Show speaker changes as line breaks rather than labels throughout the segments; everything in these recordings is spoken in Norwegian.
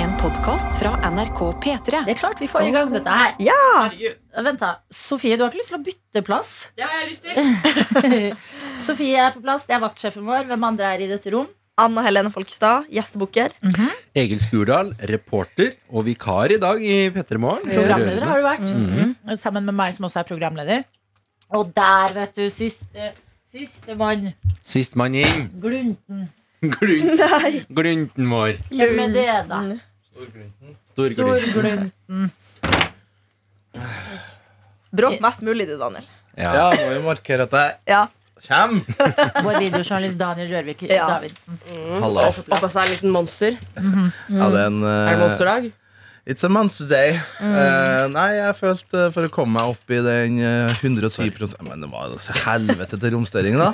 En podkast fra NRK P3.
Det er klart vi får i gang dette her.
Ja!
Herregud,
Vent da, Sofie, du har ikke lyst til å bytte plass?
det har jeg lyst til.
Sofie er på plass, det er vaktsjefen vår. Hvem andre er i dette rom?
Anne Helene Folkestad, gjestebukker.
Egil Skurdal, reporter og vikar i dag i P3 Morgen.
Programleder har du vært.
Mm-hmm.
Sammen med meg, som også er programleder. Og der, vet du, siste Sistemann.
Sistemann inn.
Glunten.
Glunt,
Nei.
glunten vår.
Hvem er det, da?
Stor glunt.
Storglunten.
Bråk mest mulig, du, Daniel.
Ja.
Ja, må jo markere at jeg
Ja.
kommer.
Vår videojournalist Daniel Rørvik
Ja.
Davidsen.
Hallo.
Oppå seg en liten monster.
Ja, det er en
Er det
eh,
monsterdag?
It's a monster day. Eh, nei, jeg følte eh, for å komme meg opp i den eh, 110 Men det var jo så helvete til romstering, da.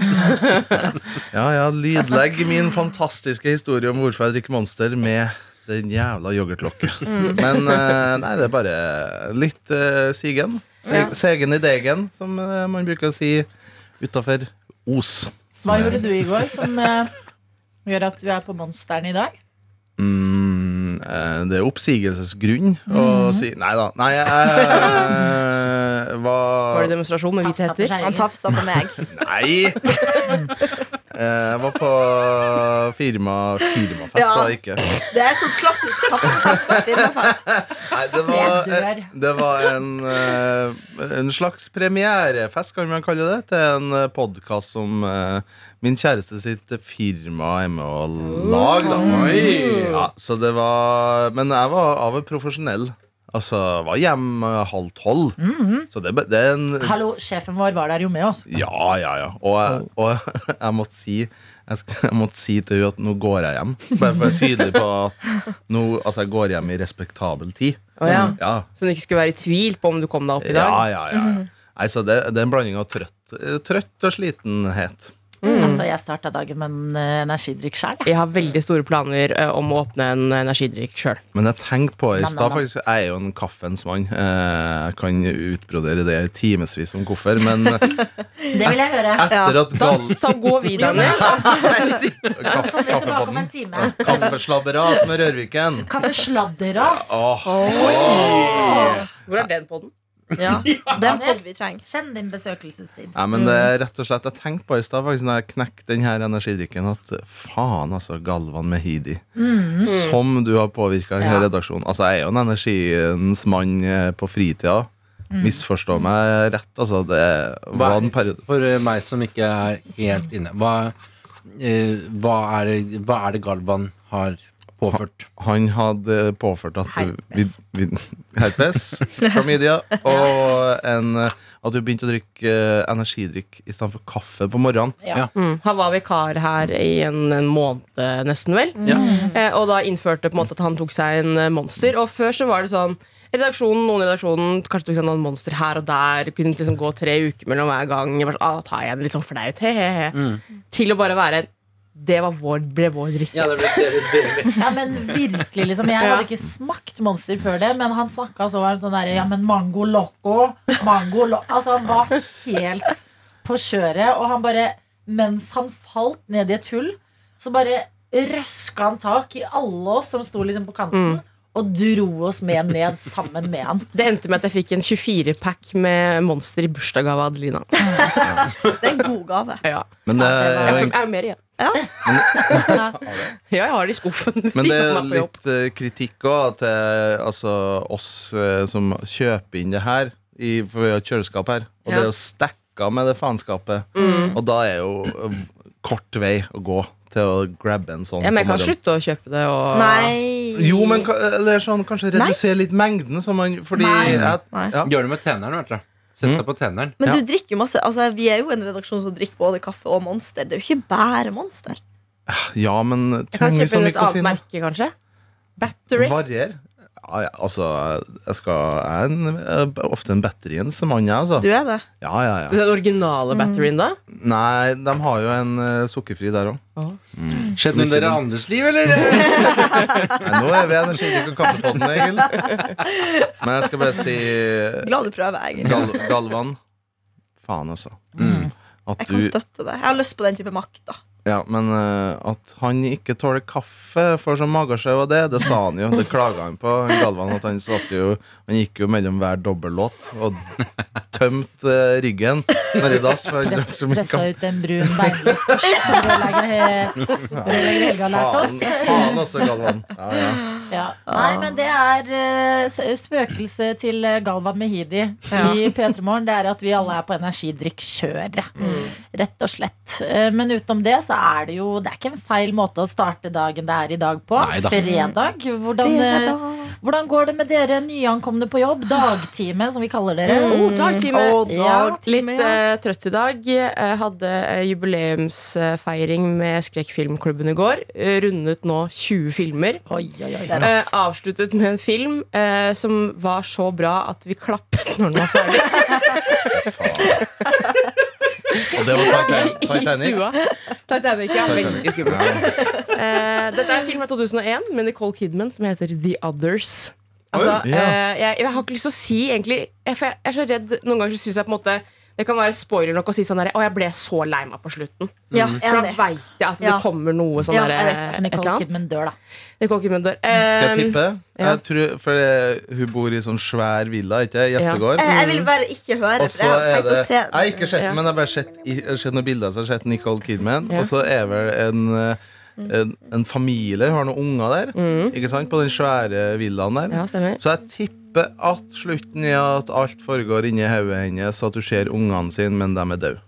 Ja, ja, lydlegg min fantastiske historie om hvorfor jeg drikker monster med den jævla yoghurtlokket. Men eh, nei, det er bare litt eh, sigen. Se
Ja.
Segen i degen, som eh, man bruker å si utafor Os.
Hva gjorde du i går som eh, gjør at du er på Monsteren i dag?
Mm, eh, det er oppsigelsesgrunn å
Mhm.
si Nei da. Nei, jeg eh,
Var
var
det demonstrasjon med hvite
Tafsa på
hetter?
skjermen.
Han tafsa på meg.
Nei! Eh, Jeg var på firma, firmafest,
Ja.
da, ikke
Det er et sånt klassisk kaffefest. da, firmafest.
Nei, det var,
Det dør.
eh, det var en, eh, en slags premierefest, kan man kalle det, til en podkast som eh, min kjæreste sitt firma er med å lage. Da. Ja, så det var, men jeg var av og profesjonell. Altså, jeg var hjemme halv tolv. Så det, det er en
Hallo, sjefen vår var der jo med oss.
ja, ja, ja. Og, jeg- og jeg måtte si jeg, sk- jeg måtte si til henne at nå går jeg hjem. Bare for å være tydelig på at nå, altså, jeg går hjem i respektabel tid.
Å ja.
Ja,
Så du ikke skulle være i tvil på om du kom deg opp i dag?
Mm. ja, ja, ja.
Mhm.
Nei, så det, det er en blanding av trøtt, eh, trøtt og slitenhet.
Altså, jeg starta dagen med en eh, energidrikk sjøl.
Jeg har veldig store planer eh, om å åpne en energidrikk sjøl.
Men jeg tenkte på i
Nam, nam,
stad
nam.
faktisk, Jeg er jo en kaffens mann. Eh, Jeg kan utbrodere det i timevis om hvorfor. Men
Det vil jeg høre. altså,
etter at
Da
gall...
så går vi, Daniel.
Så kommer vi tilbake om en time.
Kaffeslabberas med Rørviken.
Kaffesladderas.
Åh,
Hvor er den podden?
Ja. Det er en podd vi trenger.
Kjenn din besøkelsestid.
Nei, men det
Mm.
er rett og slett Jeg tenkte på i stad faktisk når jeg knekte den her energidrikken, at faen, altså, Galvan Mehidi, som du har påvirka
Mm. Ja.
hele redaksjonen Altså, jeg er jo en energiens mann eh, på fritida.
Mm.
Misforstå meg rett, altså. Det var en periode
For eh, meg som ikke er helt inne, hva, eh, hva, er, det- hva er det Galvan har påført?
Han hadde påført at vi,
Herpes.
vi, Herpes, klamydia, og en, eh, at du begynte å drikke eh, energidrikk istedenfor kaffe på morgenen.
Mm. Han var vikar her i en, en måned eh, nesten, vel.
Ja.
Eh, og da innførte på en måte at han tok seg en eh, monster. Og før så var det sånn redaksjonen, Noen i redaksjonen kanskje tok seg noen monster her og der. Kunne liksom gå tre uker mellom hver gang. Jeg Bare, sånn, ah, da tar jeg en litt sånn flaut, he, he, he.
Mm.
Til å bare være Det var vår, ble vår drikke.
det ble deres del.
Ja, men virkelig, liksom. Jeg hadde ikke smakt Monster før det, men han snakka så varmt om der, ja, men mango loco, mango lo Altså, han var helt på kjøret, og han bare Mens han falt ned i et hull, så bare røska han tak i alle oss som sto liksom på kanten, og dro oss med ned sammen med han.
Det endte med at jeg fikk en 24-pack med monster i bursdagsgave av Adelina.
Det er en god gave.
Ja.
Men det
det var-
er
Jeg
jo
får- jeg har mer igjen.
Ja.
ja, jeg har det i skuffen. ved
Men det
siden
er
av meg på jobb.
litt eh, kritikk òg til altså, oss eh, som kjøper inn det her. I, for vi har et kjøleskap her, og det
Ja.
er jo stacka med det faenskapet. Og da er jo eh, kort vei å gå til å grabbe en sånn.
Ja, men jeg
på
kan
morgenen.
slutte å kjøpe det.
Ah.
Og
Nei.
Jo, men ka- eller sånn, kanskje redusere litt mengden, så man Fordi
Nei.
jeg,
Nei.
ja.
Gjør det med tenneren, vet du. Sett deg på tenneren.
Men du drikker jo masse altså, Vi er jo en redaksjon som drikker både kaffe og Monster. Det er jo ikke bare Monster.
ja, men
Jeg kan
tunge
kjøpe
som
inn et annet
nikotin
merke, kanskje. Battery.
varier. Ja, ja, altså, jeg skal Jeg er en, eh, ofte en batteriens mann, jeg, altså.
Du er det.
Ja, ja, ja.
Den originale batterien, da?
Nei, de har jo en eh, sukkerfri der òg.
Skjedde noe i dere andres liv, eller?
Nå er vi energidrikk og kaffepodden, Egil. Men jeg skal bare si eh,
Glad du prøver, Egil.
gal Galvan. Faen, altså. At
Jeg
du
Mm.
kan støtte det. Jeg har lyst på den type makt. da
Ja, men eh, at han ikke tåler kaffe, får sånn magesjau og det, det sa han jo. Det klaga han på. Han Galvan at han satt jo Han gikk jo mellom hver dobbellåt og tømte eh, ryggen nedi dass. for han drakk så mye
Pressa
kaffe.
ut en brun beinløs kurs som rørlegger He- rørlegger Helga har lært
Faen,
oss.
faen også, Galvan. Ja, ja.
Ja. Nei, men det er eh, s- spøkelset til eh, Galvan Mehidi i P3 Morgen. Det er at vi alle er på energidrikkjøret. Rett og slett. Eh, Men utenom det så er det jo Det er ikke en feil måte å starte dagen det er i dag på.
Neida.
Fredag. Hvordan, eh, hvordan går det med dere nyankomne på jobb? Dagtime, som vi kaller dere.
Oh, dagtime.
Og
Litt
dagtime, ja.
eh, trøtt i dag. Jeg hadde eh, jubileumsfeiring med Skrekkfilmklubben i går. Eh, rundet nå 20 filmer.
Oi, oi, oi.
Eh, avsluttet med en film eh, som var så bra at vi klappet når den var ferdig.
Og det var Titan-
I
Titanic.
stua. Titanic, ja, veldig
Titanic.
skummelt.
Ja.
Eh, dette er en film fra 2001 med Nicole Kidman som heter The Others. Altså,
Oi, ja.
eh, jeg, jeg har ikke lyst til å si egentlig jeg, for jeg er så redd Noen ganger så syns jeg på en måte det kan være spoiler nok å si sånn der, Å, jeg ble så lei meg på slutten.
Ja,
For da
enig.
veit jeg at det
Ja.
kommer noe sånn
Ja,
der,
jeg vet.
eh, et eller
Nicole
annet.
Kidman dør, da.
Nicole Kidman dør.
Skal jeg
Eh,
tippe?
ja.
Jeg tror, for eh, hun bor i sånn svær villa, ikke det? Gjestegård.
Eh, Jeg, jeg vil bare ikke høre.
Og
for
så
Jeg har
er
tenkt
det
å se
Jeg har ikke sett
Ja.
den, men jeg har bare sett, i- sett noen bilder Så jeg har sett Nicole Kidman.
Ja.
Og så er vel en, eh, en, en familie, hun har noen unger der, ikke sant? på den svære villaen der.
Mm. ja, stemmer.
Så jeg tipper at slutten er at alt foregår inni hodet hennes, og at hun ser ungene sine, men de er døde.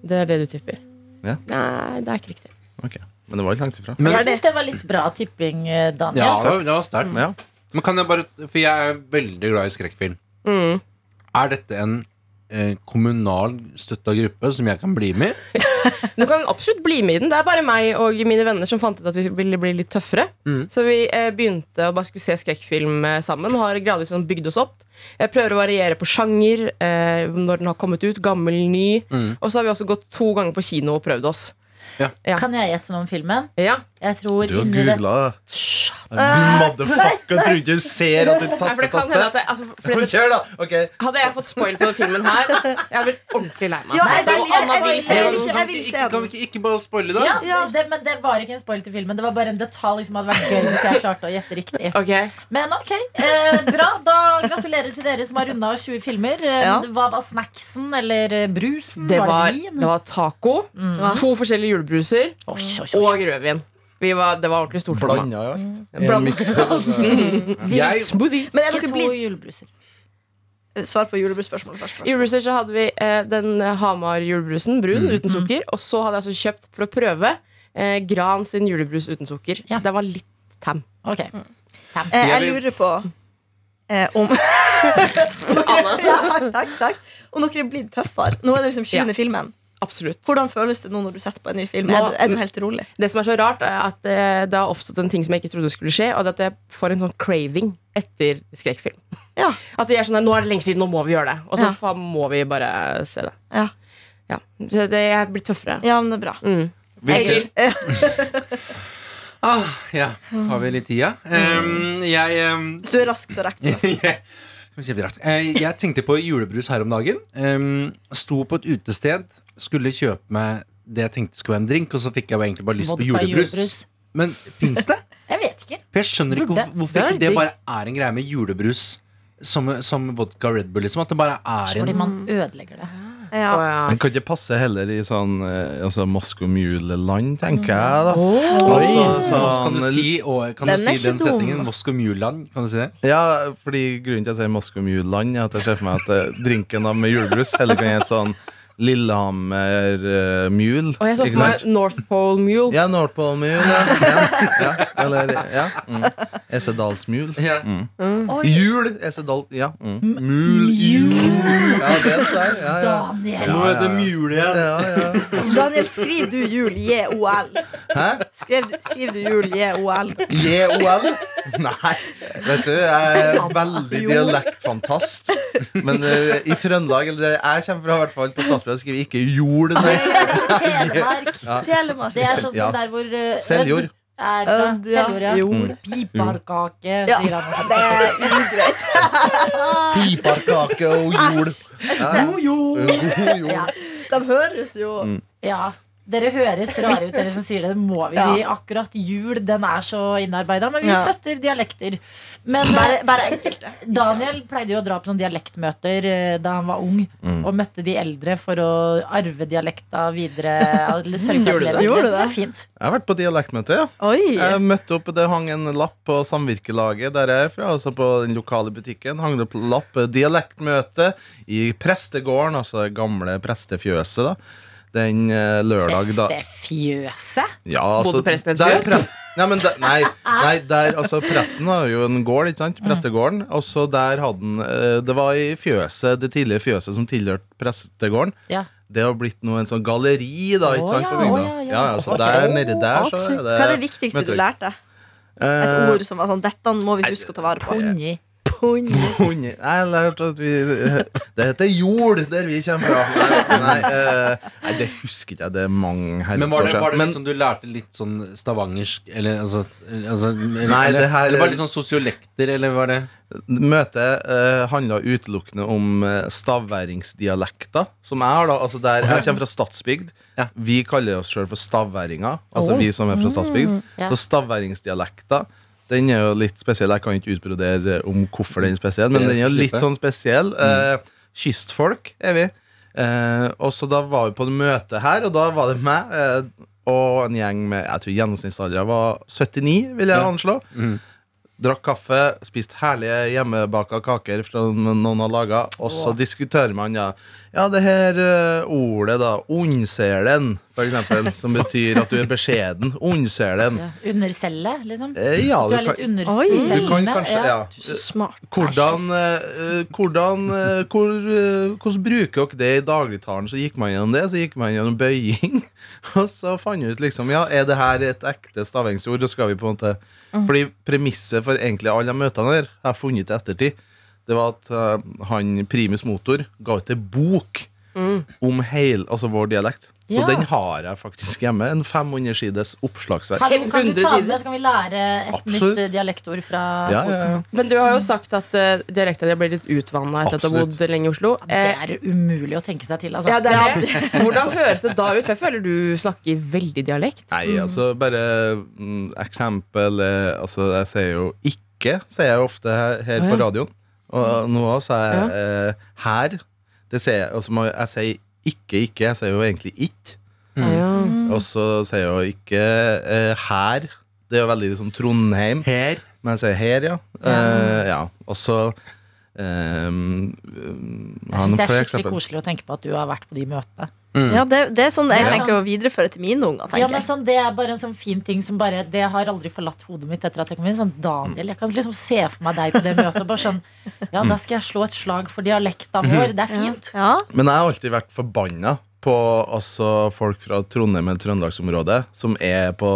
Det er det du tipper.
Ja.
Nei, det er ikke riktig.
Ok. Men det var ikke langt ifra.
Men,
Jeg syns det var litt bra tipping, eh,
ja,
Daniel.
det var- det var sterkt.
Ja.
Men kan jeg bare For jeg er veldig glad i skrekkfilm.
Mm.
Er dette en eh, kommunal støtta gruppe som jeg kan bli med i?
Du kan absolutt bli med i den. Det er bare meg og mine venner som fant ut at vi ville bli litt tøffere. Så vi eh, begynte å bare skulle se skrekkfilm eh, sammen. Har gradvis sånn bygd oss opp. Jeg prøver å variere på sjanger eh, når den har kommet ut. Gammel, ny. Og så har vi også gått to ganger på kino og prøvd oss. Ja.
Kan jeg gjette noe om filmen?
Ja.
Jeg tror
Du har
inni det
googla det. Du motherfucker, tror ikke du ser at du
Nei, for
taster,
det kan hende at
taster?
jeg, altså, for det,
Kjør, da! Ok.
hadde jeg fått spoil på den filmen her, jeg hadde blitt ordentlig lei meg.
Ja, jeg vil- jeg- jeg vil- jeg vil-
Kan
jeg
vi
vil
ikke-
se
Kan
den.
vi ikke, ikke bare spoile det?
ja, det, men det var ikke en spoil til filmen. Det var bare en detalj som hadde vært gøy hvis jeg klarte å gjette riktig.
Ok,
Men ok, eh, bra. Da gratulerer til dere som har runda 20 filmer. Eh,
Ja.
Hva var snacksen eller eh, brusen?
det
var
var,
det vin? Mm.
det var taco, to forskjellige julebruser
Oi, oi, oi.
og rødvin. Vi var, det var ordentlig stort. for meg.
Blanda i alt.
Blanda.
En mikser.
Jeg,
Smoothie.
Men er
Ikke
dere
to
blitt
julebruser.
Svar på julebruspørsmålet først.
I Research så hadde vi eh, den eh, Hamar julebrusen, brun,
Mm.
uten sukker. Og så hadde jeg altså kjøpt, for å prøve, eh, Gran sin julebrus uten sukker.
Ja.
Den var litt tam.
Ok,
Eh, jeg
Jeg vil-
lurer på eh, om ja, takk, takk, takk. Om dere er blitt tøffere. Nå er det liksom 20.
Ja.
filmen.
Absolutt.
Hvordan føles det nå når du setter på en ny film?
Nå-
Er, du- er du helt rolig?
Det som er så rart, er at eh, det har oppstått en ting som jeg ikke trodde skulle skje, og det er at jeg får en sånn craving etter skrekkfilm.
Ja.
At jeg er sånn der, nå er det lenge siden, nå må vi gjøre det. Og så
Ja.
faen, må vi bare se det.
Ja.
Ja. Så det, jeg blir tøffere.
Ja, men det er bra. Eh,
Mm.
hvilke,
Egil.
ah, ja, har vi litt tid, ja? Ehm, jeg ehm,
Hvis du er rask, så rekker du det.
Jeg- Kjemperart. Eh, Jeg tenkte på julebrus her om dagen. Em, Sto på et utested, skulle kjøpe meg det jeg tenkte skulle være en drink, og så fikk jeg jo egentlig bare lyst på
Vodka,
julebrus.
julebrus.
Men fins det?
Jeg vet ikke.
For jeg skjønner ikke
Burde.
hvorfor, hvorfor ikke det bare er en greie med julebrus som, som vodka Red Bull. Liksom, at det bare er
Fordi
en
man ødelegger det.
Ja.
Å, ja.
Den kan ikke passe heller i sånn eh, altså, Moskomule-land, tenker jeg,
Mm.
da.
Oi.
Altså,
Kan du
sånn-
si, og, kan
Den
du
er
si
ikke
den
dum.
setningen? Moscow Mulan, kan du si det?
Ja, fordi grunnen til at jeg sier Moskomule-land, er at jeg ser for meg at eh, drinken da med julebrus heller kan hete sånn Lillehammer-mule.
Og jeg så for meg North Pole Mule.
Ja, Nordpål-mule. Ja, ja, eller ja. Mm. Esedalsmule.
Ja.
Mm.
Oi.
Jul! Esedal... Ja. Mm. Mul. Ja, det der. Ja, ja.
Daniel!
Nå er det mule igjen.
ja, ja.
Daniel, skriv du jul, J-O-L.
Hæ?
Skrev du- Skriv du jul, E J-O-L.
JOL? Nei. Vet du, jeg er veldig
Jo.
dialektfantast. Men eh, i Trøndelag, eller der jeg kommer fra, i hvert fall på Statsbrevet, skriver vi ikke jol. Nei.
Telemark.
Telemark.
Det er sånn som
Ja.
der hvor eh,
Seljord.
Ødd Er fra.
Ødd, ja.
Seljord, ja.
Jord.
Piparkake,
Ja.
sier han.
Det er ugreit.
Piparkake og jol.
Ah. Jeg synes det-
God jol.
Ja.
De høres jo
Ja. Dere høres rare ut, dere som sier det. Det må vi
Ja.
si. Akkurat jul, den er så innarbeida. Men vi
Ja.
støtter dialekter. Men eh,
Bare, bare enkelte.
Daniel pleide jo å dra på sånne dialektmøter eh, da han var ung,
Mm.
og møtte de eldre for å arve dialekta videre. Eller sørge for at de
Gjorde du det?
levde.
Gjorde du
Det er
det?
fint.
Jeg har vært på dialektmøte, ja.
Oi!
Jeg møtte opp, Det hang en lapp på samvirkelaget der jeg er fra. altså På den lokale butikken hang det opp lapp eh, 'Dialektmøte' i prestegården, altså det gamle prestefjøset, da. Den eh, lørdag da
Prestefjøset?
ja, altså,
Bodde presten i et
der
fjøs?
pres- Nei, men der, nei,
Ah.
nei, der, altså presten har jo en gård, ikke sant? Prestegården. Og så der hadde han eh, Det var i fjøset, det tidligere fjøset som tilhørte prestegården.
Ja.
Det har blitt noe, en sånn galleri, da,
Å,
ikke sant?
ja,
på bygda.
å, ja, ja.
ja, ja, så der nede der, så er det
Hva er det viktigste du lærte? Et
Eh,
ord som var sånn Dette må vi huske å ta vare på.
Unni.
Pony.
Ponni Nei, jeg lærte at vi Det heter jord, der vi kommer fra. Nei, nei, eh, nei det husker ikke jeg. Det er mange
Men var det, var
herrens år siden.
det
Men-
liksom du lærte litt sånn stavangersk Eller altså, altså eller,
Nei, det her-
eller var det litt sånn sosiolekter, eller var det
Møtet eh, handla utelukkende om eh, stavværingsdialekter. Som jeg har, da. Altså der, jeg kommer fra Stadsbygd.
Ja.
Vi kaller oss sjøl for stavværinger. Altså
Åh.
vi som er fra Stadsbygd.
ja.
Så stavværingsdialekter den er jo litt spesiell. Jeg kan ikke utbrodere om hvorfor den er spesiell, men
Det er Mm.
den er jo litt
slippe.
sånn spesiell. Eh, kystfolk er vi. Eh, og så da var vi på et møte her, og da var det meg eh, og en gjeng med Jeg tror gjennomsnittsalderen var 79, vil jeg
Ja.
anslå. Drakk kaffe, spiste herlige hjemmebaka kaker som noen har laga. Og så diskuterer man ja, ja det her eh, ordet, da. Ondselen, for eksempel. Som betyr at du er beskjeden. Ondselen.
Ja. Undercelle, liksom?
Eh, ja,
At du er
kan-
litt under
Oi.
du kan
cellene?
kanskje,
Ja.
ja.
Du er så smart.
Hvordan, eh, eh, hvordan, eh, hvor, eh, hvordan bruker dere det i dagligtalen? Så gikk man gjennom det, så gikk man gjennom bøying. Og så fant vi ut liksom, ja, er det her et ekte stavingsord? Så skal vi på en måte
Mm.
Fordi premisset for egentlig alle de møtene der har jeg funnet i ettertid. Det var at eh, han primus motor ga ut ei bok om heil, altså vår dialekt. Så
Mm. Ja.
den har jeg faktisk hjemme. En 500 sides oppslagsverk.
Hallo, kan du
100
ta med
sider.
det, så kan vi lære et
Absolutt.
nytt eh, dialektord fra
Ja, ja,
Fosen.
ja.
Men du har jo sagt at uh, dialekta di blir litt utvanna etter at du har
Absolutt.
bodd lenge i Oslo.
Det
Eh,
er umulig å tenke seg til, altså.
ja, det er det. Hvordan høres det da ut? For jeg føler du snakker veldig dialekt.
Nei, altså bare mm, eksempel eh, Altså, jeg sier jo ikke, sier jeg ofte her, her
Å,
på
ja.
radioen. Og nå også er jeg eh, her. Det sier jeg, altså, må- jeg sier ikke ikke, jeg sier jo egentlig ikke.
Ja.
Og så sier jeg jo ikke eh, her. Det er jo veldig sånn Trondheim.
Her?
Men jeg sier her, ja. Eh, ja. Og så ehm, um,
Jeg
ha
synes
noen
det er skikkelig
flere eksempel.
koselig å tenke på at du har vært på de møtene.
Ja, det, det er sånn jeg
Ja.
tenker å videreføre til mine unger.
Ja,
tenker
men
jeg
sånn, Det er bare en sånn fin ting som bare Det har aldri forlatt hodet mitt etter at jeg kom inn. Sånn, Daniel, jeg kan liksom se for meg deg på det møtet. Og bare sånn, ja, da skal jeg slå et slag for dialekta vår. Det er fint.
Ja,
Men jeg har alltid vært forbanna på altså, folk fra Trondheim eller Trøndelagsområdet som er på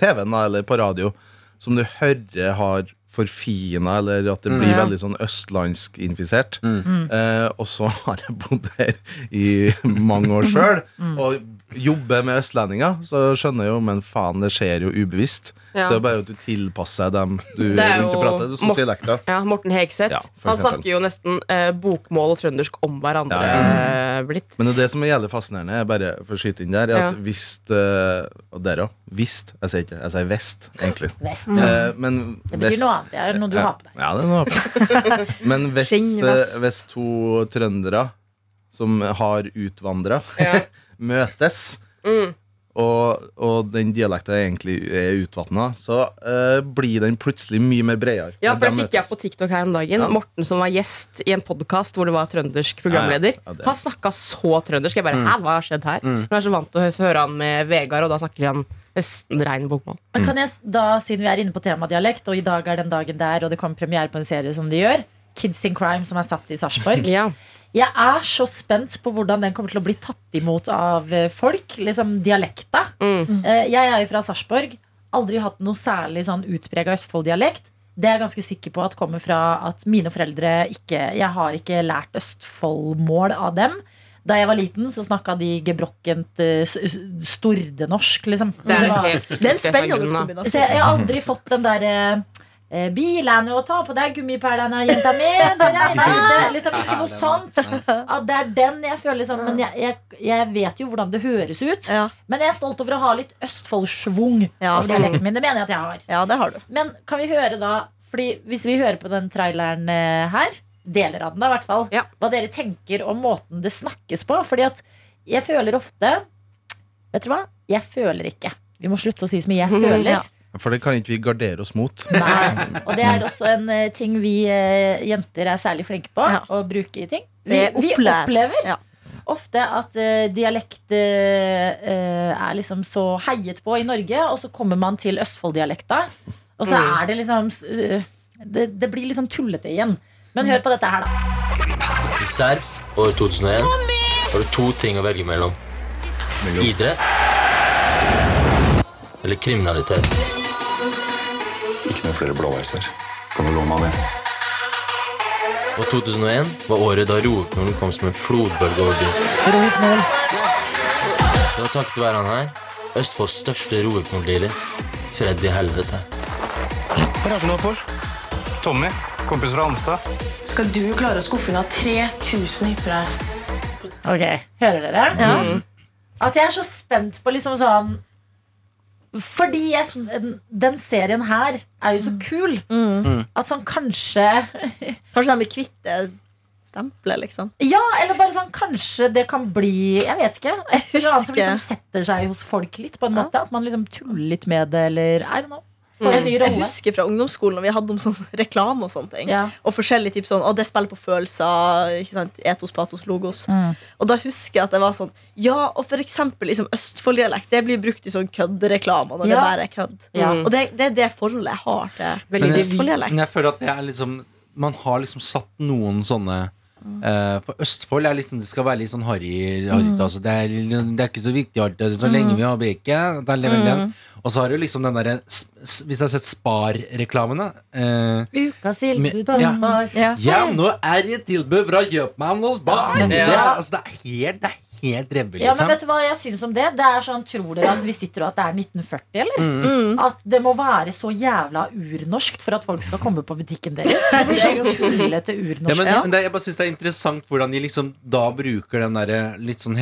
TV-en da, eller på radio, som du hører har forfina, eller at det blir
Mm. Ja. Mm.
veldig sånn østlandsk-infisert. Eh, og så har jeg bodd her i mange år sjøl
Mm.
og jobber med østlendinger, så skjønner jeg jo Men faen, det skjer jo ubevisst.
Ja.
Det er bare at du tilpasser deg dem du
Det er
rundt og
jo-
prater. Det er sånn
Mor-
dialekter.
Ja, Morten Hegseth.
Ja, for
han
eksempel.
snakker jo nesten eh, bokmål og trøndersk om hverandre
Ja,
eh, blitt.
Men det er det som er jævlig fascinerende, jeg bare for å skyte inn der, er at
Ja.
hvis eh, Og dere òg. Visst. Jeg sier ikke Jeg sier vest, egentlig.
Vest.
Eh, men
Det betyr noe annet. Det er noe du
ja.
har på deg.
Ja, det er noe jeg har på meg. Men hvis,
Skinn vest.
eh, hvis to trøndere som har utvandra,
Ja.
møtes
Mm.
og, og den dialekten egentlig er utvatna, så eh, blir den plutselig mye mer bredere.
Ja, for
når
det
de
fikk jeg
møtes.
på TikTok her om dagen.
Ja.
Morten som var gjest i en podkast hvor det var trøndersk
Ja,
programleder.
ja, ja, det- Mm.
Han snakka så trøndersk. Jeg bare, hæ, hva har skjedd her? For Jeg er så vant til å hø- høre han med Vegard, og da snakker han nesten rein bokmål.
Men kan jeg, s- da, Siden vi er inne på tema dialekt, og i dag er den dagen der, og det kommer premiere på en serie som de gjør, Kids in Crime, som er satt i Sarpsborg.
Ja.
Jeg er så spent på hvordan den kommer til å bli tatt imot av eh, folk. Liksom dialekta.
Mm.
Eh, Jeg er jo fra Sarpsborg. Aldri hatt noe særlig sånn utprega Østfold-dialekt. Det er jeg ganske sikker på at kommer fra at mine foreldre ikke Jeg har ikke lært Østfoldmål av dem. Da jeg var liten, så snakka de gebrokkent eh, s- s- stordenorsk, liksom. Mm.
Det er
var-
helt sikkert
Det er en
det som er
spennende
grunnen, da.
så
kombinasjon.
jeg, jeg har aldri fått den der eh, eh, bilene og ta på deg gummiperlene, jenta mi. Det regner ute. Liksom ikke noe sånt. At det er den jeg føler liksom Men jeg, jeg, jeg vet jo hvordan det høres ut.
Ja,
Men jeg er stolt over å ha litt Østfold-schwung
Ja.
over dialekten min. Det mener jeg at jeg har.
ja det har du.
Men kan vi høre da Fordi hvis vi hører på den traileren eh, her Deler av den da i hvert fall
Ja.
Hva dere tenker om måten det snakkes på Fordi at jeg føler ofte Vet du hva? Jeg føler ikke Vi må slutte å si så mye jeg føler
Ja.
For det kan ikke vi gardere oss mot.
Nei. Og det er også en eh, ting vi eh, jenter er særlig flinke på
Ja.
Å bruke i ting Vi,
Det
vi
opplever.
opplever
Ja.
Ofte at eh, dialekt eh, eh, er liksom så heiet på i Norge Og så kommer man til Østfold-dialekta Og så
Mm.
er det liksom s- eh, det, det blir liksom tullete igjen Men hør på dette her da
I Serb år 2001 har du to ting å velge mellom. Idrett eller kriminalitet.
Ikke noe flere blåveiser. Kan du love meg det?
Og 2001 var året da roeknolen kom som en flodbølge over byen. Det var takket være han her, Østfolds største roeknoldealer, Freddy Helvete.
Tommy, kompis fra Anstad.
Skal du klare å skuffe unna 3000 hippere?
Ok, hører dere? At jeg er så spent på liksom sånn Fordi jeg, s- den serien her er jo
Mm.
så kul At sånn kanskje
Kanskje de blir kvitt det stempelet, liksom.
Ja, eller bare sånn, kanskje det kan bli Jeg vet ikke. Et eller annet som
Husker-
liksom setter seg hos folk litt, på en måte. At man liksom tuller litt med det, eller I don't know. Får en ny
Mm. Jeg
rolle.
husker fra ungdomsskolen når vi hadde om sånn reklame og sånne ting.
Ja.
Og forskjellig typ sånn, å det spiller på følelser, ikke sant, etos, patos, logos.
Mm.
Og da husker jeg at det var sånn, ja, og for eksempel liksom Østfold-dialekt, det blir brukt i sånn køddereklamer når
Ja.
det bare er kødd.
Ja.
Og det, det er det forholdet jeg har til
Men jeg,
Østfold-dialekt.
men jeg føler at det er liksom Man har liksom satt noen sånne eh, For Østfold er liksom Det skal være litt sånn harry harryt, altså. det, er, det er ikke så viktig alt, Så lenge vi har bacon det er veldig igjen. Og så har du liksom den derre s- s- Hvis du har sett Spar-reklamene eh,
Ukas
Men-
tilbud på
ja.
Spar.
Ja.
Ja, nå er det tilbud fra kjøpmannen hos Spar! Det, er-
Ja.
altså, det er helt, det er helt rebbe,
Ja, men
liksom.
vet du hva jeg syns om det? Det er sånn, Tror dere at vi sitter og at det er 1940, eller?
Mm.
At det må være så jævla urnorskt for at folk skal komme på butikken deres? Det blir sånn tullete urnorsk.
Ja, men,
Ja.
men det, jeg bare synes det er interessant hvordan de liksom da bruker den der litt sånn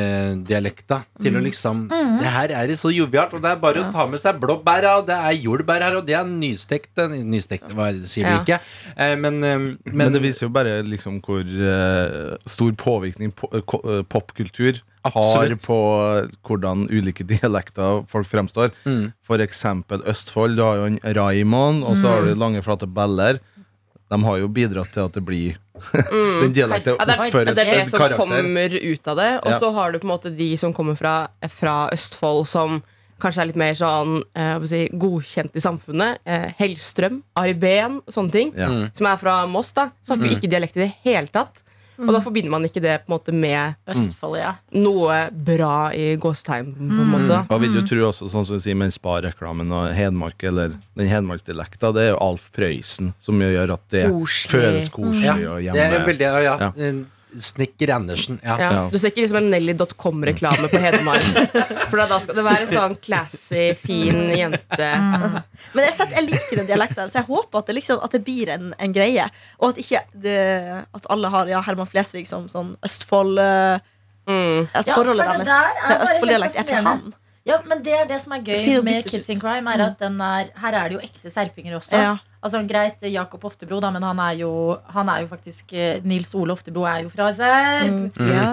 Hedmark-dialekta til å liksom Det her er så jovialt, og det er bare å ta med seg blåbær og det er jordbær her, og det er nystekt eh, Nystekt, hva er det, sier
Ja.
du ikke? Eh, men, eh, men,
Men det viser jo bare liksom hvor eh, stor påvirkning po eh, ko- eh, popkultur har
Absolutt.
på eh, hvordan ulike dialekter folk fremstår.
Mm.
For eksempel Østfold. Du har jo en Raymond, og så
Mm.
har du lange, flate beller. De har jo bidratt til at det blir Den dialekten
Mm. Ja, det, er,
oppføres
det er det
en
som
karakter.
kommer ut av det. Og
Ja.
så har du på en måte de som kommer fra, fra Østfold, som kanskje er litt mer sånn eh, hva skal jeg si, godkjent i samfunnet. Eh, Hellstrøm, Ari Behn, sånne ting.
Ja. Mm.
Som er fra Moss, da. Snakker jo ikke dialekt i det hele tatt. Og da forbinder man ikke det på en måte med
Mm.
Østfold, ja.
noe bra i gåstegn. på en måte da.
Og vil jo tro også, sånn som du sier med Spar-reklamen og Hedmark, eller den hedmarksdialekta, det er jo Alf Prøysen som jo gjør at det
Koselig. Mm.
føles koselig
ja,
og
det er
hjemme.
veldig, ja,
Ja.
eh, Snekker Andersen. Ja.
Ja.
Ja.
Du ser ikke liksom en Nelly.com-reklame på Hedmark. For da skal det være sånn classy, fin jente.
Men jeg, setter, jeg liker den dialekten, her, så jeg håper at det, liksom, at det blir en, en greie. Og at ikke det, at alle har ja, Herman Flesvig som sånn Østfold eh,
Mm.
At
Ja,
forholdet
for det
deres
der er
til
bare
Østfold-dialekt
helt
er fra han.
Ja, men det er det som er
På tide
gøy
å
med
byttes
Kids
ut.
in Crime, er at den er, her er det jo ekte serpinger også.
Ja.
Altså Greit, Jakob Oftebro, da, men han er jo, han er jo faktisk eh, Nils Ole Oftebro er jo fra Serb.
Mm.
Ja.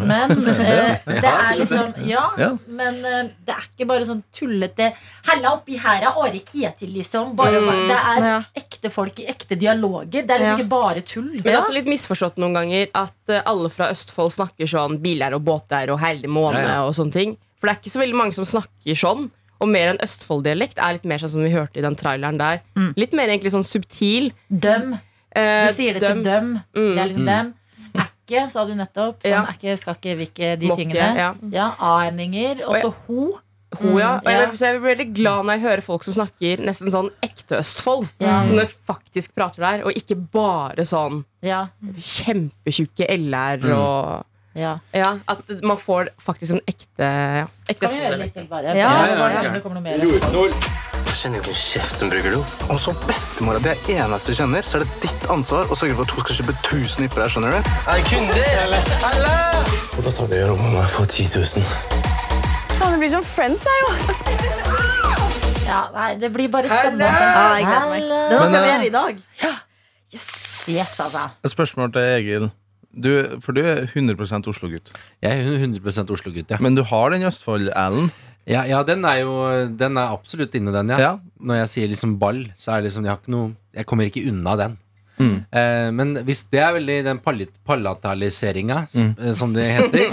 Men eh, det er liksom Ja,
Ja.
men eh, det er ikke bare sånn tullete Hella oppi her er Are Kjetil, liksom. Bare, Det er
Ja.
ekte folk i ekte dialoger. Det er
Ja.
liksom ikke bare tull. Altså,
Men det er også litt misforstått noen ganger at eh, alle fra Østfold snakker sånn biler og båter og herlig måne
Ja,
og sånne ting. For det er ikke så veldig mange som snakker sånn. Og mer enn Østfold-dialekt er litt mer sånn som vi hørte i den traileren der. Litt mer egentlig sånn subtil.
Døm. Mm. Du
Eh,
sier det til døm. Det er liksom dem. Ække, sa du nettopp.
Ja.
Sånn, Ække, skal ikke, vil ikke, de
Må ikke,
tingene.
ja.
Ja, A-endinger. Og så ho.
Ho, ja. Og
Mm,
jeg,
ja.
så jeg blir veldig glad når jeg hører folk som snakker nesten sånn ekte Østfold.
Ja.
Som de faktisk prater der, og ikke bare sånn
Ja. Mm.
kjempetjukke LR og
Ja.
Ja, at man får faktisk en ekte, ja, ekte
Kan vi gjøre litt til, bare?
Ja,
Bare-
ja,
bare
ja.
om det kommer noe mer.
Jeg kjenner jo ikke en kjeft som bruker do.
Og som bestemora di er eneste du kjenner, så er det ditt ansvar å sørge for at hun skal kjøpe 1000 nypper her, skjønner du? Er det kunder, eller?
Og da tar det gjør om meg for 10 000.
Ja, nei, det blir bare stemma.
Ah, jeg gleder meg. Det er noe
Men, eh,
mer i dag.
Yes, altså.
Et spørsmål til Egil. Du, for du er 100 Oslo-gutt.
Jeg er 100 Oslo-gutt, ja.
Men du har den Østfold-Allen.
ja. Ja, den er jo Den er absolutt inne, den, ja.
Ja.
Når jeg sier liksom ball, så er det liksom Jeg har ikke noe Jeg kommer ikke unna den.
Mm.
Eh, men hvis det er veldig den palit- palataliseringa, som, eh, som det heter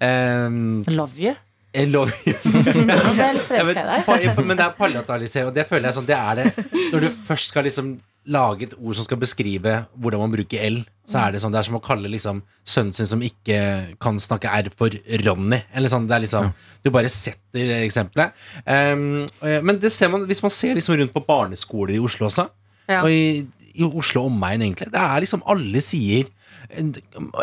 eh,
Love you.
jeg lover-
Vel,
Jeg
frelsker
vet,
jeg deg.
pa- men det er palatalisering, og det føler jeg sånn Det er det Når du først skal liksom lage et ord som skal beskrive hvordan man bruker L, så er det sånn Det er som å kalle liksom sønnen sin som ikke kan snakke R, for Ronny. Eller sånn, det er liksom Du bare setter eksempelet. Ehm, eh, men det ser man hvis man ser liksom rundt på barneskoler i Oslo også,
Ja.
og i, i Oslo omegn, egentlig. Det er liksom alle sier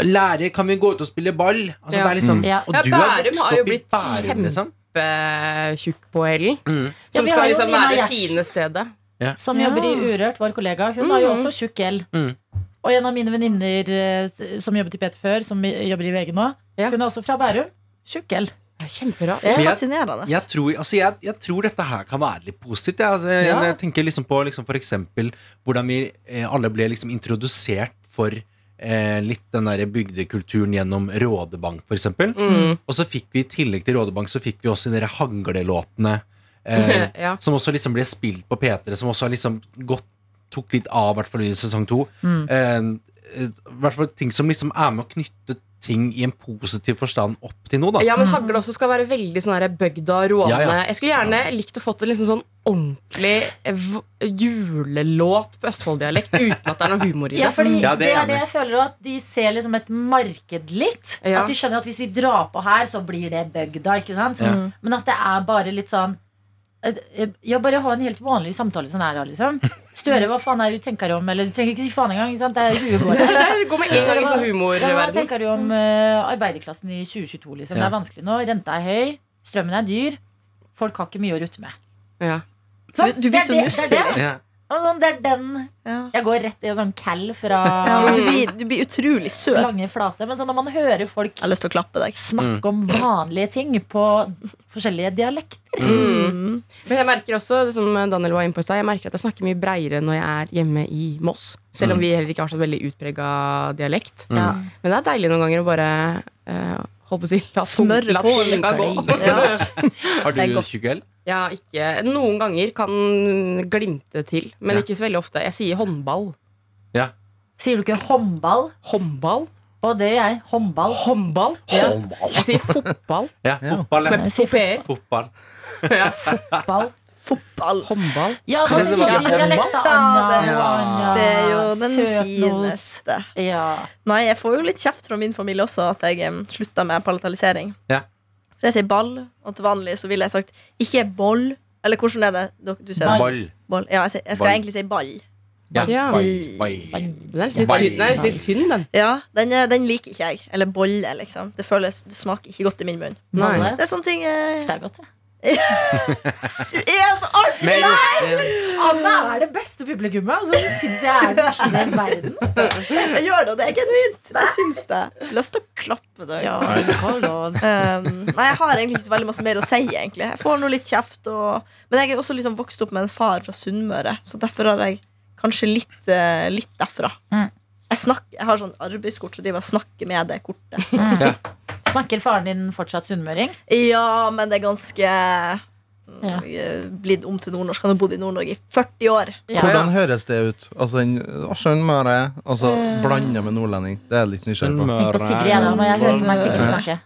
Lærer, kan vi gå ut og spille ball? Altså,
Ja. Mm.
det er liksom,
Ja.
Og
Ja,
du har
Bærum
vokst
har jo
opp i
blitt
Bærum, liksom.
kjempetjukk på hælen.
Ja,
Som
vi har
skal
jo
liksom
Nina
være det
Gjertsen.
fine stedet.
Som jobber i Urørt, vår kollega. Hun har jo også tjukk L.
Mm.
Og en av mine venninner eh, som jobbet i PT før, som jobber i VG nå,
Ja.
hun er også fra Bærum. Tjukk L.
Det er kjemperart.
Det er
Men jeg-
fascinerende.
Jeg tror, altså jeg, jeg tror dette her kan være litt positivt. Jeg, altså, jeg,
Ja.
jeg tenker liksom på liksom for eksempel hvordan vi eh, alle ble liksom introdusert for eh, litt den der bygdekulturen gjennom Rådebank, for eksempel.
Mm.
Og så fikk vi i tillegg til Rådebank, så fikk vi også de der hanglelåtene. Eh,
ja.
som også liksom ble spilt på P3, som også har liksom gått, tok litt av, i hvert fall i sesong to. Eh, eh, I hvert fall ting som liksom er med å knytte ting i en positiv forstand opp til noe, da.
ja, men hagle også skal være veldig sånn her bøgda, råne.
Ja, ja.
Jeg skulle gjerne likt å fått en liksom sånn ordentlig v- julelåt på Østfold-dialekt uten at det er noe humor i det.
Ja, fordi
Ja, det
det
er
er
enig.
det jeg føler også, at de ser liksom et marked litt.
Ja.
At de skjønner at hvis vi drar på her, så blir det bygda, ikke sant?
Ja.
Men at det er bare litt sånn eh, eh, Ja, bare ha en helt vanlig samtale som er her, liksom. Støre, hva faen er det du tenker om? Eller du trenger ikke si faen engang, ikke sant? Det er huegård.
Det går med en gang i sånn
Ja, hva
humorverden.
tenker du om eh, arbeiderklassen i 2022? Liksom? Det
Ja.
er vanskelig nå. Renta er høy, strømmen er dyr. Folk har ikke mye å rutte med.
Ja.
Du, du blir
Det er det-
så
det
nussig.
er det.
Ja.
Og sånn, det er den
Ja.
Jeg går rett i en sånn cal fra
Ja, men du, blir, du blir utrolig søt.
lange flate. Men sånn, når man hører folk
Jeg har lyst til å klappe deg.
snakke
Mm.
om vanlige ting på forskjellige dialekter
Mm. Men jeg merker også, det som Daniel var inne på i stad, jeg merker at jeg snakker mye breiere når jeg er hjemme i Moss. Selv om vi heller ikke har så veldig utprega dialekt.
Ja.
Men det er deilig noen ganger å bare eh, holdt på å si, la sol-
Smørre
la
på
sola
litt.
gå.
Ja.
Har
Det er
du
godt.
tjukk L?
Ja, ikke, noen ganger kan glimte til, men ikke så veldig ofte. Jeg sier håndball.
Sier du ikke håndball?
Håndball?
Og det gjør jeg. Håndball.
Håndball? Ja. Jeg sier fotball.
Ja, fotball. Ja.
Med
Jeg sier
popper.
Fotball.
Ja.
Ball.
Fotball.
Håndball.
Ja, hva
Kan
sier
det være
de i dialekt, da?
håndball?
Anja,
Ja,
Anja,
Det er jo den
søtnos.
fineste.
Ja.
Nei, jeg får jo litt kjeft fra min familie også at jeg um, slutta med palatalisering.
Ja.
For jeg sier ball, og til vanlig så ville jeg sagt ikke boll. Eller hvordan er det dok- du sier? det?
Ball.
Boll. Ja, jeg, sier, jeg skal
Ball.
egentlig si ball.
Ja.
Ja.
Ball. Ball.
Den er litt tynn, den. Er litt tynn, den.
Ja, den, eh, den liker ikke jeg. Eller bolle, liksom. Det, føles, det smaker ikke godt i min munn.
Bolle.
Det er sånne ting eh,
Det er godt, det.
Du er så artig!
Med Jostein.
Anna er det beste publikummet, og så syns jeg er den verste i hele verden.
Jeg gjør det, og det er genuint. Jeg syns det. Lyst til å klappe deg.
Ja, hallo.
Um, nei, jeg har egentlig ikke så veldig masse mer å si. egentlig Jeg får nå litt kjeft og... Men jeg er også liksom vokst opp med en far fra Sunnmøre, så derfor har jeg kanskje litt, eh, litt derfra.
Mm.
Jeg, snakker, jeg har sånn arbeidskort, så de bare snakker med det kortet.
Snakker faren din fortsatt sunnmøring?
Ja, men det er ganske mm,
Ja.
eh, Blitt om til nordnorsk. Han har bodd i Nord-Norge i 40 år.
Hvordan høres det ut? Altså, en å, Sunnmøre altså,
Eh.
blanda med nordlending. Det er jeg litt nysgjerrig på.
Tenk på Sigrid, jeg, da, men jeg hører for meg Sigrid snakke.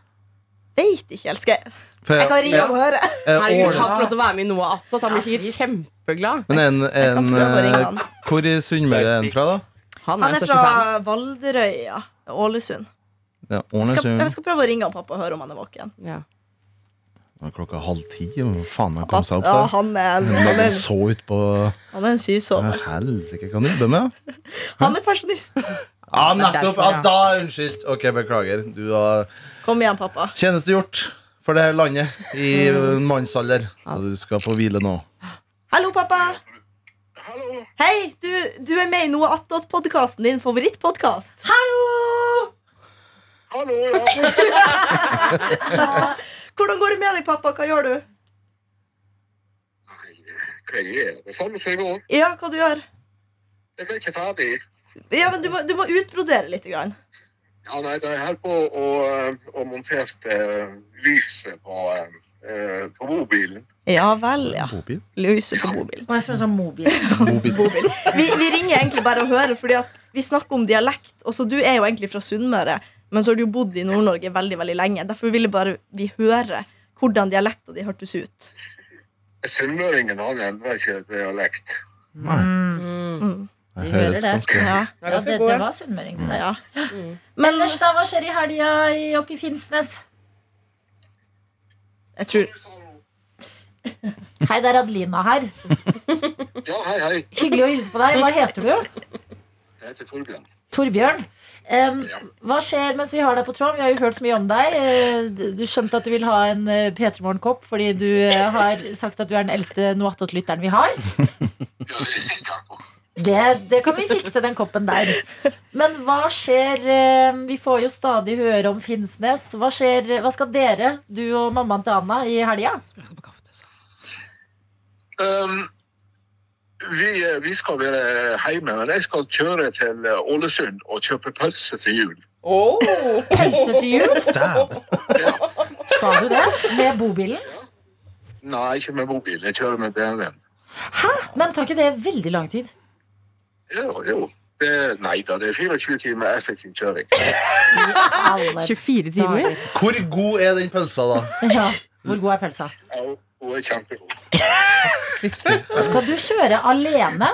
Veit ikke, elsker jeg.
For
Jeg kan ringe og høre.
er
Herregud,
Ål-
han får lov til å være med i Noah Attat. Han blir sikkert kjempeglad.
Men en,
Jeg kan
en,
prøve å ringe han.
eh, hvor i Sunnmøre er han fra, da?
Han
Han
er den
er
største
fra
fan.
Valderøya. Ålesund.
Ja,
Jeg skal, jeg
Ålesund.
skal prøve å ringe han pappa og høre om han er våken.
Ja.
Det var Klokka halv ti. og Faen, han kom seg opp
Ja,
da.
han er en,
Men
han
han
er,
så ut på
han er en sysover.
Helsike, hva han jobber med?
Han er pensjonist.
Ja, nettopp! Ja, da, unnskyld. Ok, beklager. Du har
Kom igjen, pappa.
tjenestegjort for det her landet i en mannsalder. Så du skal få hvile nå.
Hallo, pappa. Hei, du, du er med i Noe attåt-podkasten, din favorittpodkast. Hallo! Hallo, Hvordan går det med deg, pappa? Hva gjør du?
Hva gjør jeg? Det samme som i går.
Ja, hva du gjør?
Jeg er ikke ferdig.
Ja, men Du må, du må utbrodere litt. Grann.
Ja, nei, de holder på å, eh, å montere eh, lyset på, eh, på bobilen.
Ja vel, ja. Lyset på mobilen.
Og jeg tror hun sa sånn mobil.
Bobil. Vi, vi ringer egentlig bare og hører, fordi at vi snakker om dialekt. Og så Du er jo egentlig fra Sunnmøre, men så har du jo bodd i Nord-Norge veldig veldig lenge. Derfor ville bare vi høre hvordan dialekta di hørtes ut.
Sunnmøringen han endrer ikke dialekt.
Vi hører det.
Ja.
Ja, det, det var sunnmøring, det der.
Ellers,
da, hva skjer i helga i- oppe i Finnsnes?
Jeg tror
Hei, det er Adelina her.
Ja, hei, hei.
Hyggelig å hilse på deg. Hva heter du?
Jeg heter Torbjørn.
Torbjørn. Em, hva skjer mens vi har deg på tråden? Vi har jo hørt så mye om deg. Eh, d- Du skjønte at du vil ha en eh, P3 Morgen-kopp fordi du eh, har sagt at du er den eldste Noatot-lytteren vi har. Det, det kan vi fikse, den koppen der. Men hva skjer eh, Vi får jo stadig høre om Finnsnes. Hva, skjer, hva skal dere, du og mammaen til Anna, i helga?
Um, vi, eh, vi skal være hjemme, men jeg skal kjøre til eh, Ålesund og kjøpe pølse til jul.
Pølse til jul?
Dæven.
Skal du det? Med bobilen?
Nei, ikke med mobil. Jeg kjører med BMW-en.
Hæ? Men tar ikke det veldig lang tid?
Jo, jo. Det, nei da, det er 24 timer effektiv kjøring.
24
timer?
Hvor god er den pølsa, da?
Ja. Hvor god er pølsa?
Ja, Hun er kjempegod.
Skal du kjøre alene?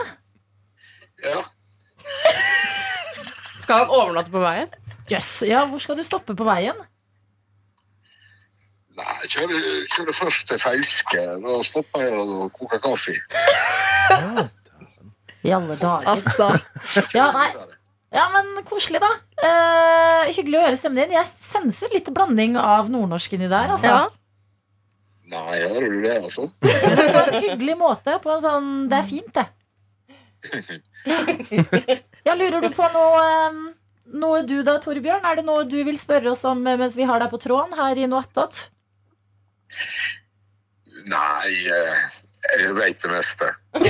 Skal han overnatte på veien?
Jøss. Ja, hvor skal du stoppe på veien?
Nei, jeg kjører, kjører først til Fauske. Da stopper jeg og koker kaffe.
I alle dager. Ja, nei. ja men koselig, da. Eh, hyggelig å høre stemmen din. Jeg senser litt blanding av nordnorsk inni der, altså.
Ja. Nei, hører du det, altså?
Men På en hyggelig måte. På en sånn Det er fint, det. Ja, lurer du på noe eh, Noe du da, Torbjørn? Er det noe du vil spørre oss om eh, mens vi har deg på tråden her i Noattot?
Nei, eh, jeg vet det meste.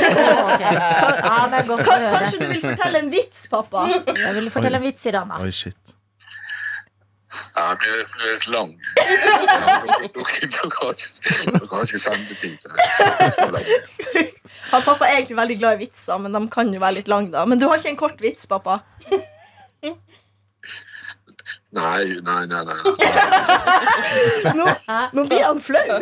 Ja, men godt å
Kan-
høre.
Kanskje du vil fortelle en vits, pappa?
Jeg vil fortelle en vits, sier Anna.
Oi, shit.
Nei, den blir den blir litt lang. Ja, Dere dere har ikke- dere har ikke sendetid til det.
Han pappa er egentlig veldig glad i vitser, men de kan jo være litt lange. da Men du har ikke en kort vits, pappa?
Nei, nei, nei. nei. nei.
Nå, nå blir han flau.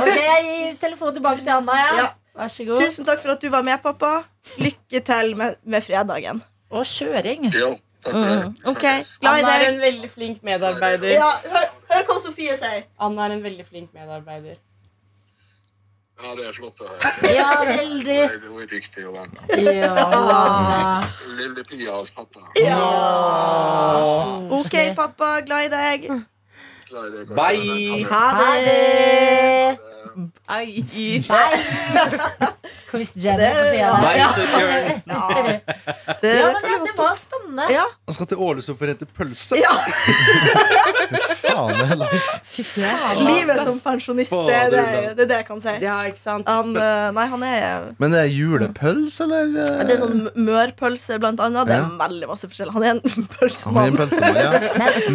Ok, jeg gir telefonen tilbake til Anna. Ja. Vær så god.
Tusen takk for at du var med, pappa. Lykke til med, med fredagen.
Og kjøring.
Jo, takk for
Mm,
det.
Ok, glad i
Anna er
deg.
en veldig flink medarbeider.
Ja, hør, hør hva Sofie sier.
Anna er en veldig flink medarbeider.
Ja, det er flott å høre.
Ja, veldig.
Nei, Hun er dyktig og venn.
Ja.
Lille Pia hos pappa.
Ok, pappa. Glad i deg.
Glad i deg,
Bye.
Ha det. Bye.
Chris Jenner.
Det-
sier jeg.
Bye,
Ja.
Torbjørn.
Det,
Ja, men det, det var spennende.
Ja.
Han skal til Ålesund for å hente pølse.
Faen, det er langt.
Fy faen.
Livet som pensjonist, det er det, det, er det jeg kan si.
Ja, ikke sant?
Han, eh, nei, han er
Men det er julepøls, eller? eh?
Det er sånn mørpølse, blant annet. Det er
Ja.
veldig masse forskjell. Han er en
Han er en
pølsemann.
pølsemann, ja.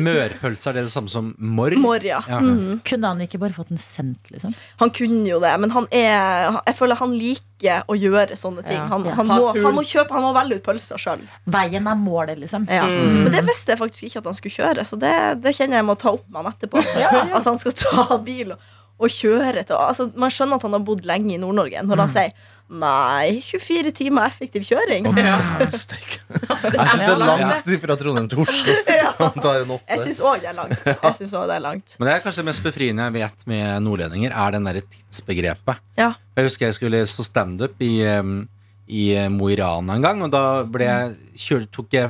Mørpølse, er det det samme som morr?
Morja.
Ja.
Mm.
Kunne han ikke bare fått den sendt, liksom?
Han kunne jo det, men han er, jeg føler han liker å gjøre sånne ting.
Ja.
Han,
Ja.
han,
Ta
må,
turen.
han må kjøpe, han må velge ut pølser sjøl.
Veien er målet, liksom.
Ja. Men det visste jeg faktisk ikke at han skulle kjøre, så det, det kjenner jeg må ta opp med han etterpå. At han skal ta bil og, og kjøre til altså, Man skjønner at han har bodd lenge i Nord-Norge når han sier nei, 24 timer effektiv kjøring.
Dæven steike. Jeg syns det er langt fra Trondheim til Oslo. Han tar en åtte.
Jeg syns òg det er langt. Jeg synes også det er langt.
Men det er kanskje det mest befriende jeg vet med nordlendinger, er den derre tidsbegrepet.
Ja.
Jeg husker jeg skulle stå standup i, um, i Mo i Rana en gang, og da ble jeg, kjør, tok jeg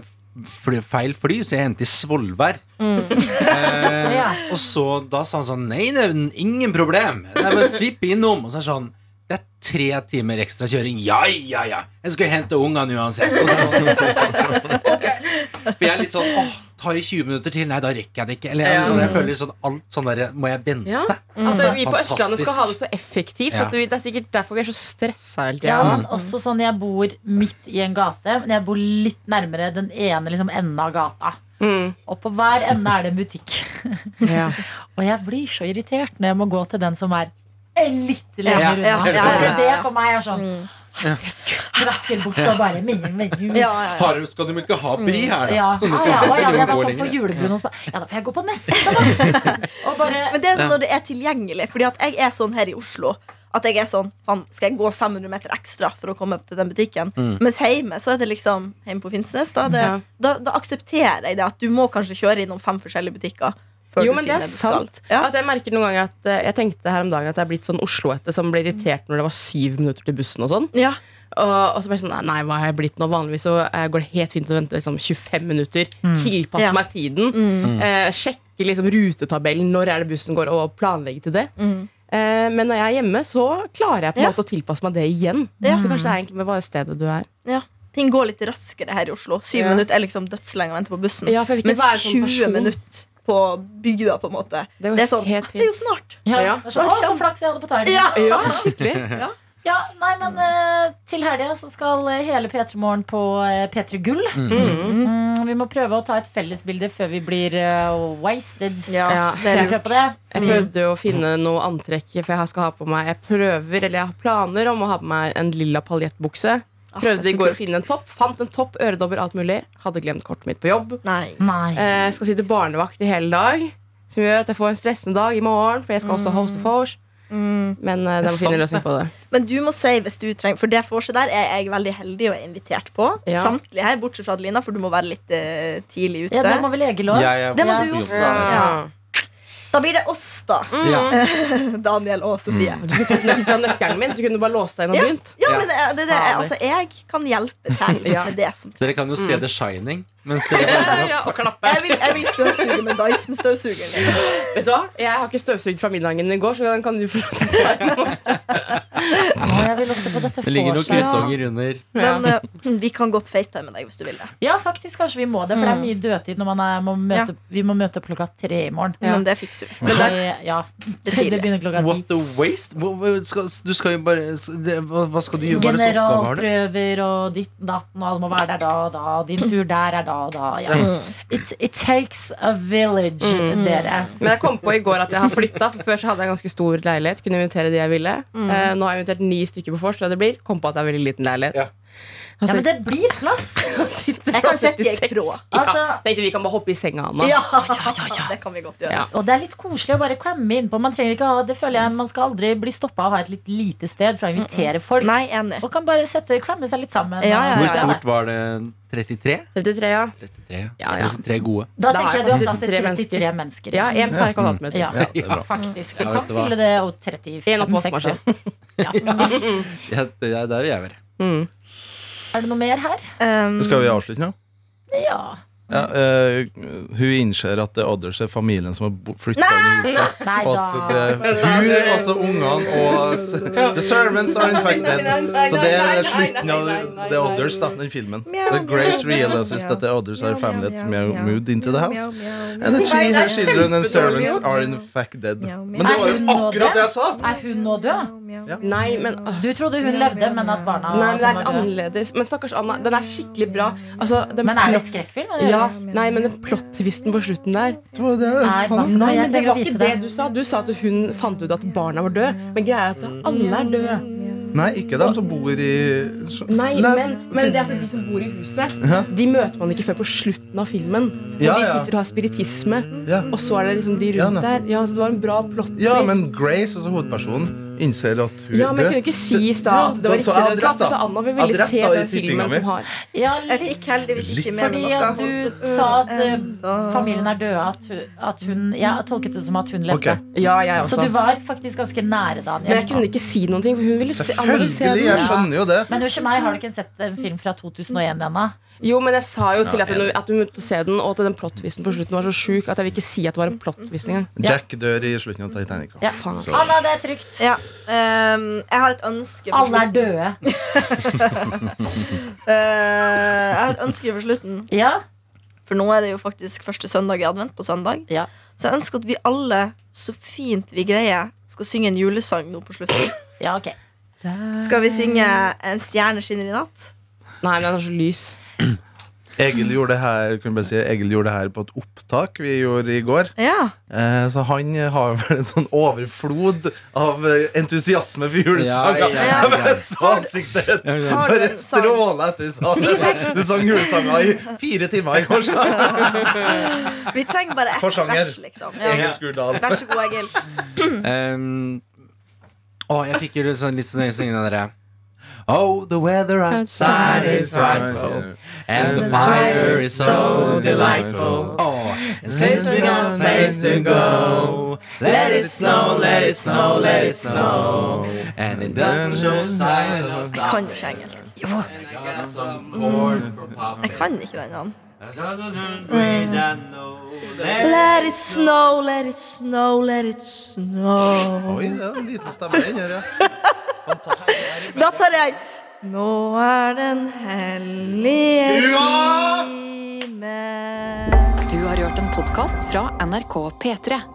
fly, feil fly, så jeg endte i Svolvær. Eh, Og så da sa han sånn Nei, det er ingen problem. Det er bare å svippe innom. Og så er det sånn Det er tre timer ekstra kjøring. Ja, ja, ja. Jeg skal jo hente ungene uansett. Og så, er det sånn, ok. For jeg er litt sånn Åh, tar det 20 minutter til? Nei, da rekker jeg det ikke. Eller,
Ja.
sånn, jeg føler sånn alt sånn derre Må jeg vente?
Ja. Altså, vi på
Fantastisk.
Østlandet skal ha det så effektivt.
Ja.
At vi, det er sikkert derfor vi er så stressa hele tiden.
Ja, men også sånn Jeg bor midt i en gate, men jeg bor litt nærmere den ene liksom, enden av gata.
Mm.
Og på hver ende er det en butikk.
Ja.
og jeg blir så irritert når jeg må gå til den som er litt lenger
Ja,
unna.
ja, ja, ja, ja, Mm. ja.
Det for meg er sånn Trasker bort og bare ming, ming, ming.
Har, skal du ikke ha bri her, da?
Ja,
Skal du
ja,
ikke
ja,
ha
ja,
bri?
jeg var
Gå
tom
lenger.
for julebrun hos meg. Ja, da får jeg gå på neste.
Men det er
Ja.
når det er tilgjengelig. Fordi at jeg er sånn her i Oslo. At jeg er sånn, faen, Skal jeg gå 500 meter ekstra for å komme opp til den butikken?
Mm.
Mens hjemme så er det liksom hjemme på Finnsnes. Da, det,
Ja.
da, da aksepterer jeg det at du må kanskje kjøre innom fem forskjellige butikker. Før
Jo,
du
men det
finner
er
du skal.
sant. At jeg merker noen ganger at eh, Jeg tenkte her om dagen at jeg er blitt sånn Oslo-ette som ble irritert når det var syv minutter til bussen og sånn. Og, og så ble jeg sånn Nei, hva har jeg blitt nå? Vanligvis så eh, går det helt fint å vente liksom 25 minutter. Tilpasse
Ja.
meg tiden.
Mm.
Eh, sjekke liksom rutetabellen. Når er det bussen går, og planlegge til det. Eh, men når jeg er hjemme, så klarer jeg på en
Ja.
måte å tilpasse meg det igjen.
Ja.
Så kanskje det er egentlig med bare stedet du er.
Ja. Ting går litt raskere her i Oslo. Syv
Ja.
minutter er liksom dødslenge å vente på bussen.
Ja, for jeg vil ikke
Mens
være
20
sånn person.
minutter på bygda, på en måte. Det er, sånn «Ah, Det er jo snart.
Ja, og så, å, så
kommer».
flaks jeg hadde på tarmen.
Ja.
skikkelig.
Ja, nei, men eh, til helga så skal eh, hele P3 Morgen på eh, P3 Gull.
Mm.
Mm, vi må prøve å ta et fellesbilde før vi blir eh, wasted.
Ja,
Skal jeg prøve på det?
Jeg prøvde jo å finne noe antrekk, for jeg skal ha på meg Jeg prøver, eller jeg har planer om å ha på meg en lilla paljettbukse.
det er
Prøvde
så
i går
kult.
å finne en topp. Fant en topp, øredobber, alt mulig. Hadde glemt kortet mitt på jobb. Eh, skal sitte barnevakt i hele dag, som gjør at jeg får en stressende dag i morgen, for jeg skal også hoste vors. Men eh,
Det er
det må finne en
sant,
løsning på det.
Men du må si hvis du trenger For det vorset der er jeg veldig heldig og er invitert på.
Ja.
Samtlige her, bortsett fra Adelina, for du må være litt eh, tidlig ute.
Ja, det må vel Egil også? Jeg er
Det må
også
du
på
også.
jobb.
Ja. Da blir det oss, da.
Mm.
Ja.
Daniel og Sofie.
Du skulle fått nøkkelen nøkkelen min, så kunne du bare låst deg inn og
Ja,
begynt.
ja, men det, er- det, er det, er-
Fader.
altså, jeg kan hjelpe til
Ja.
med det som
Dere kan jo se The Shining. Mens dere
Ja, og klappe.
Jeg vil, jeg vil støvsuge med Dyson-støvsugeren.
Vet du hva? Jeg har ikke støvsugd fra middagen i går, så den kan du få lov til å ta imot.
jeg vil også på dette
Det ligger noen
vorset.
kruttunger under.
Men eh, vi kan godt facetime deg hvis du vil det.
Ja, faktisk kanskje vi må det, for det er mye dødtid når man er, må møte, vi må møte opp klokka tre i morgen.
Men det fikser vi.
Men det- ja, det begynner klokka ti.
What the waste? Hva- hva- skal- Du skal jo bare det- Hva hva skal du gjøre? Hva er det slags oppgave har du?
Generalprøver og ditt datten, og alle må være der da og da. og Din tur der er da og da. Ja.
Mm.
It, it takes a village, dere.
Men jeg kom på i går at jeg har flytta. For før så hadde jeg ganske stor leilighet. Kunne invitere de jeg ville.
Mm.
Eh, nå har jeg invitert ni stykker på vors, så det blir. Kom på at det er en veldig liten leilighet.
Ja, men det blir plass!
Jeg kan sette i en krå.
Altså-
ja, tenkte vi kan bare hoppe i senga, Anna.
det kan vi godt gjøre.
Ja.
Og det er litt koselig å bare cramme innpå. Man trenger ikke ha, det føler jeg man skal aldri bli stoppa av å ha et litt lite sted for å invitere folk.
Nei, enig.
Og kan bare sette, cramme seg litt sammen.
Hvor stort var det? 33?
33, ja.
33,
ja,
33 gode.
Da tenker jeg du har plass til
33
33 mennesker. liksom.
Ja, en
Mm.
per kvadratmeter.
Ja,
Ja, det er bra.
faktisk. Vi
Ja,
kan
vet du hva?
fylle det og 35
En opp på oss,
36.
Ja, det, er- der vil jeg være.
Mm.
Er det noe mer her?
Um,
Skal vi avslutte nå?
Ja.
Ja, eh, hun innser at det er Odders er familien som har flytta inn i huset.
Nei
Og
da.
at det
eh,
er hun, altså ungene og s- The servants are infected. Så det er slutten av The Odders, da, den filmen. The Grace realizes that the others are families meow, moved into the house. And the three her children and servants are infected. Men det var jo akkurat det jeg sa!
Er hun nå død?
Nei, men
Du trodde hun levde, men at barna
Nei, men det er
var
litt annerledes. Men stakkars Anna, den er skikkelig bra. Altså, den
Men er det
plot-
skrekkfilm, eller?
Ja, nei, men den plot-twisten på slutten der
Nei, hva-
Nei,
jeg
men det
trenger å
var
vite
ikke det
det.
du sa. Du sa at hun fant ut at barna var døde. Men greia er at alle er døde.
Nei, ikke dem som bor i så-
Nei,
Les-
men, men det er at de som bor i huset,
Ja.
de møter man ikke før på slutten av filmen. Når
Ja,
de
ja.
sitter og har spiritisme,
Ja.
og så er det liksom de
Ja,
rundt
nettopp.
der. Ja, så det var en bra plot
Ja, men Grace, altså hovedpersonen, innser at hun
Ja, men jeg kunne ikke si i stad at det var
da- så jeg hadde
riktig. det du sa,
rett, da.
for Anna
Jeg
vil veldig
hadde
se
rett, da, i
den filmen
tippinga mi.
som har
Ja,
Jeg
litt.
fikk heldigvis ikke med
Fordi
meg noe.
at du sa at eh, familien er døde, at hun, at hun Jeg tolket det som at hun levde.
Ok. Ja, jeg også.
Så du var faktisk ganske nære, Daniel.
Men jeg kunne ikke si noen ting, for hun ville se, Anna ville se den.
Selvfølgelig, jeg skjønner jo det.
Men unnskyld meg, har du ikke sett en film fra 2001 ennå?
Jo, men jeg sa jo til
Ja,
at hun, at hun måtte se den, og at den plottvisten på slutten var så sjuk at jeg vil ikke si at det var en plottvist engang.
Jack dør i slutten av Titanic. altså.
Ja. Faen.
Så-
Anna, det er trygt.
Ja. ehm, jeg har et ønske for
Alle er
slutten.
døde.
Eh, jeg har et ønske for slutten.
Ja.
For nå er det jo faktisk første søndag i advent på søndag.
Ja.
Så jeg ønsker at vi alle, så fint vi greier, skal synge en julesang nå på slutten.
Ja, ok
Skal vi synge 'En stjerne skinner i natt'?
Nei, men den er så lys.
Egil gjorde det her kan jeg bare si, Egil gjorde det her på et opptak vi gjorde i går.
Ja.
Eh, så han har vel en sånn overflod av eh, entusiasme for
Ja, ja,
julesanger.
ja.
Jeg bare så ansiktet ditt
ja.
bare stråla etter du sa det. Du sang julesanger i fire timer i går. så-
Vi trenger bare ett
Forsanger.
vers, liksom. Ja.
Egil Skurdal.
Vær så god, Egil.
Um, å, jeg fikk jo litt sånn litt sånn jeg synger den derre Oh, the weather outside is frightful And the fire is so delightful oh, and Since we got a place to go Let it snow, let it snow, let it snow And it doesn't show signs of
Jeg kan
stopping
jo ikke engelsk. Jo. Jeg kan ikke den. han. Let it snow, let it snow, let it snow.
Oi, det er en liten stemme den her, ja.
Da tar jeg Nå er den hellige
Ja!
time.
Du har hørt en podkast fra NRK P3.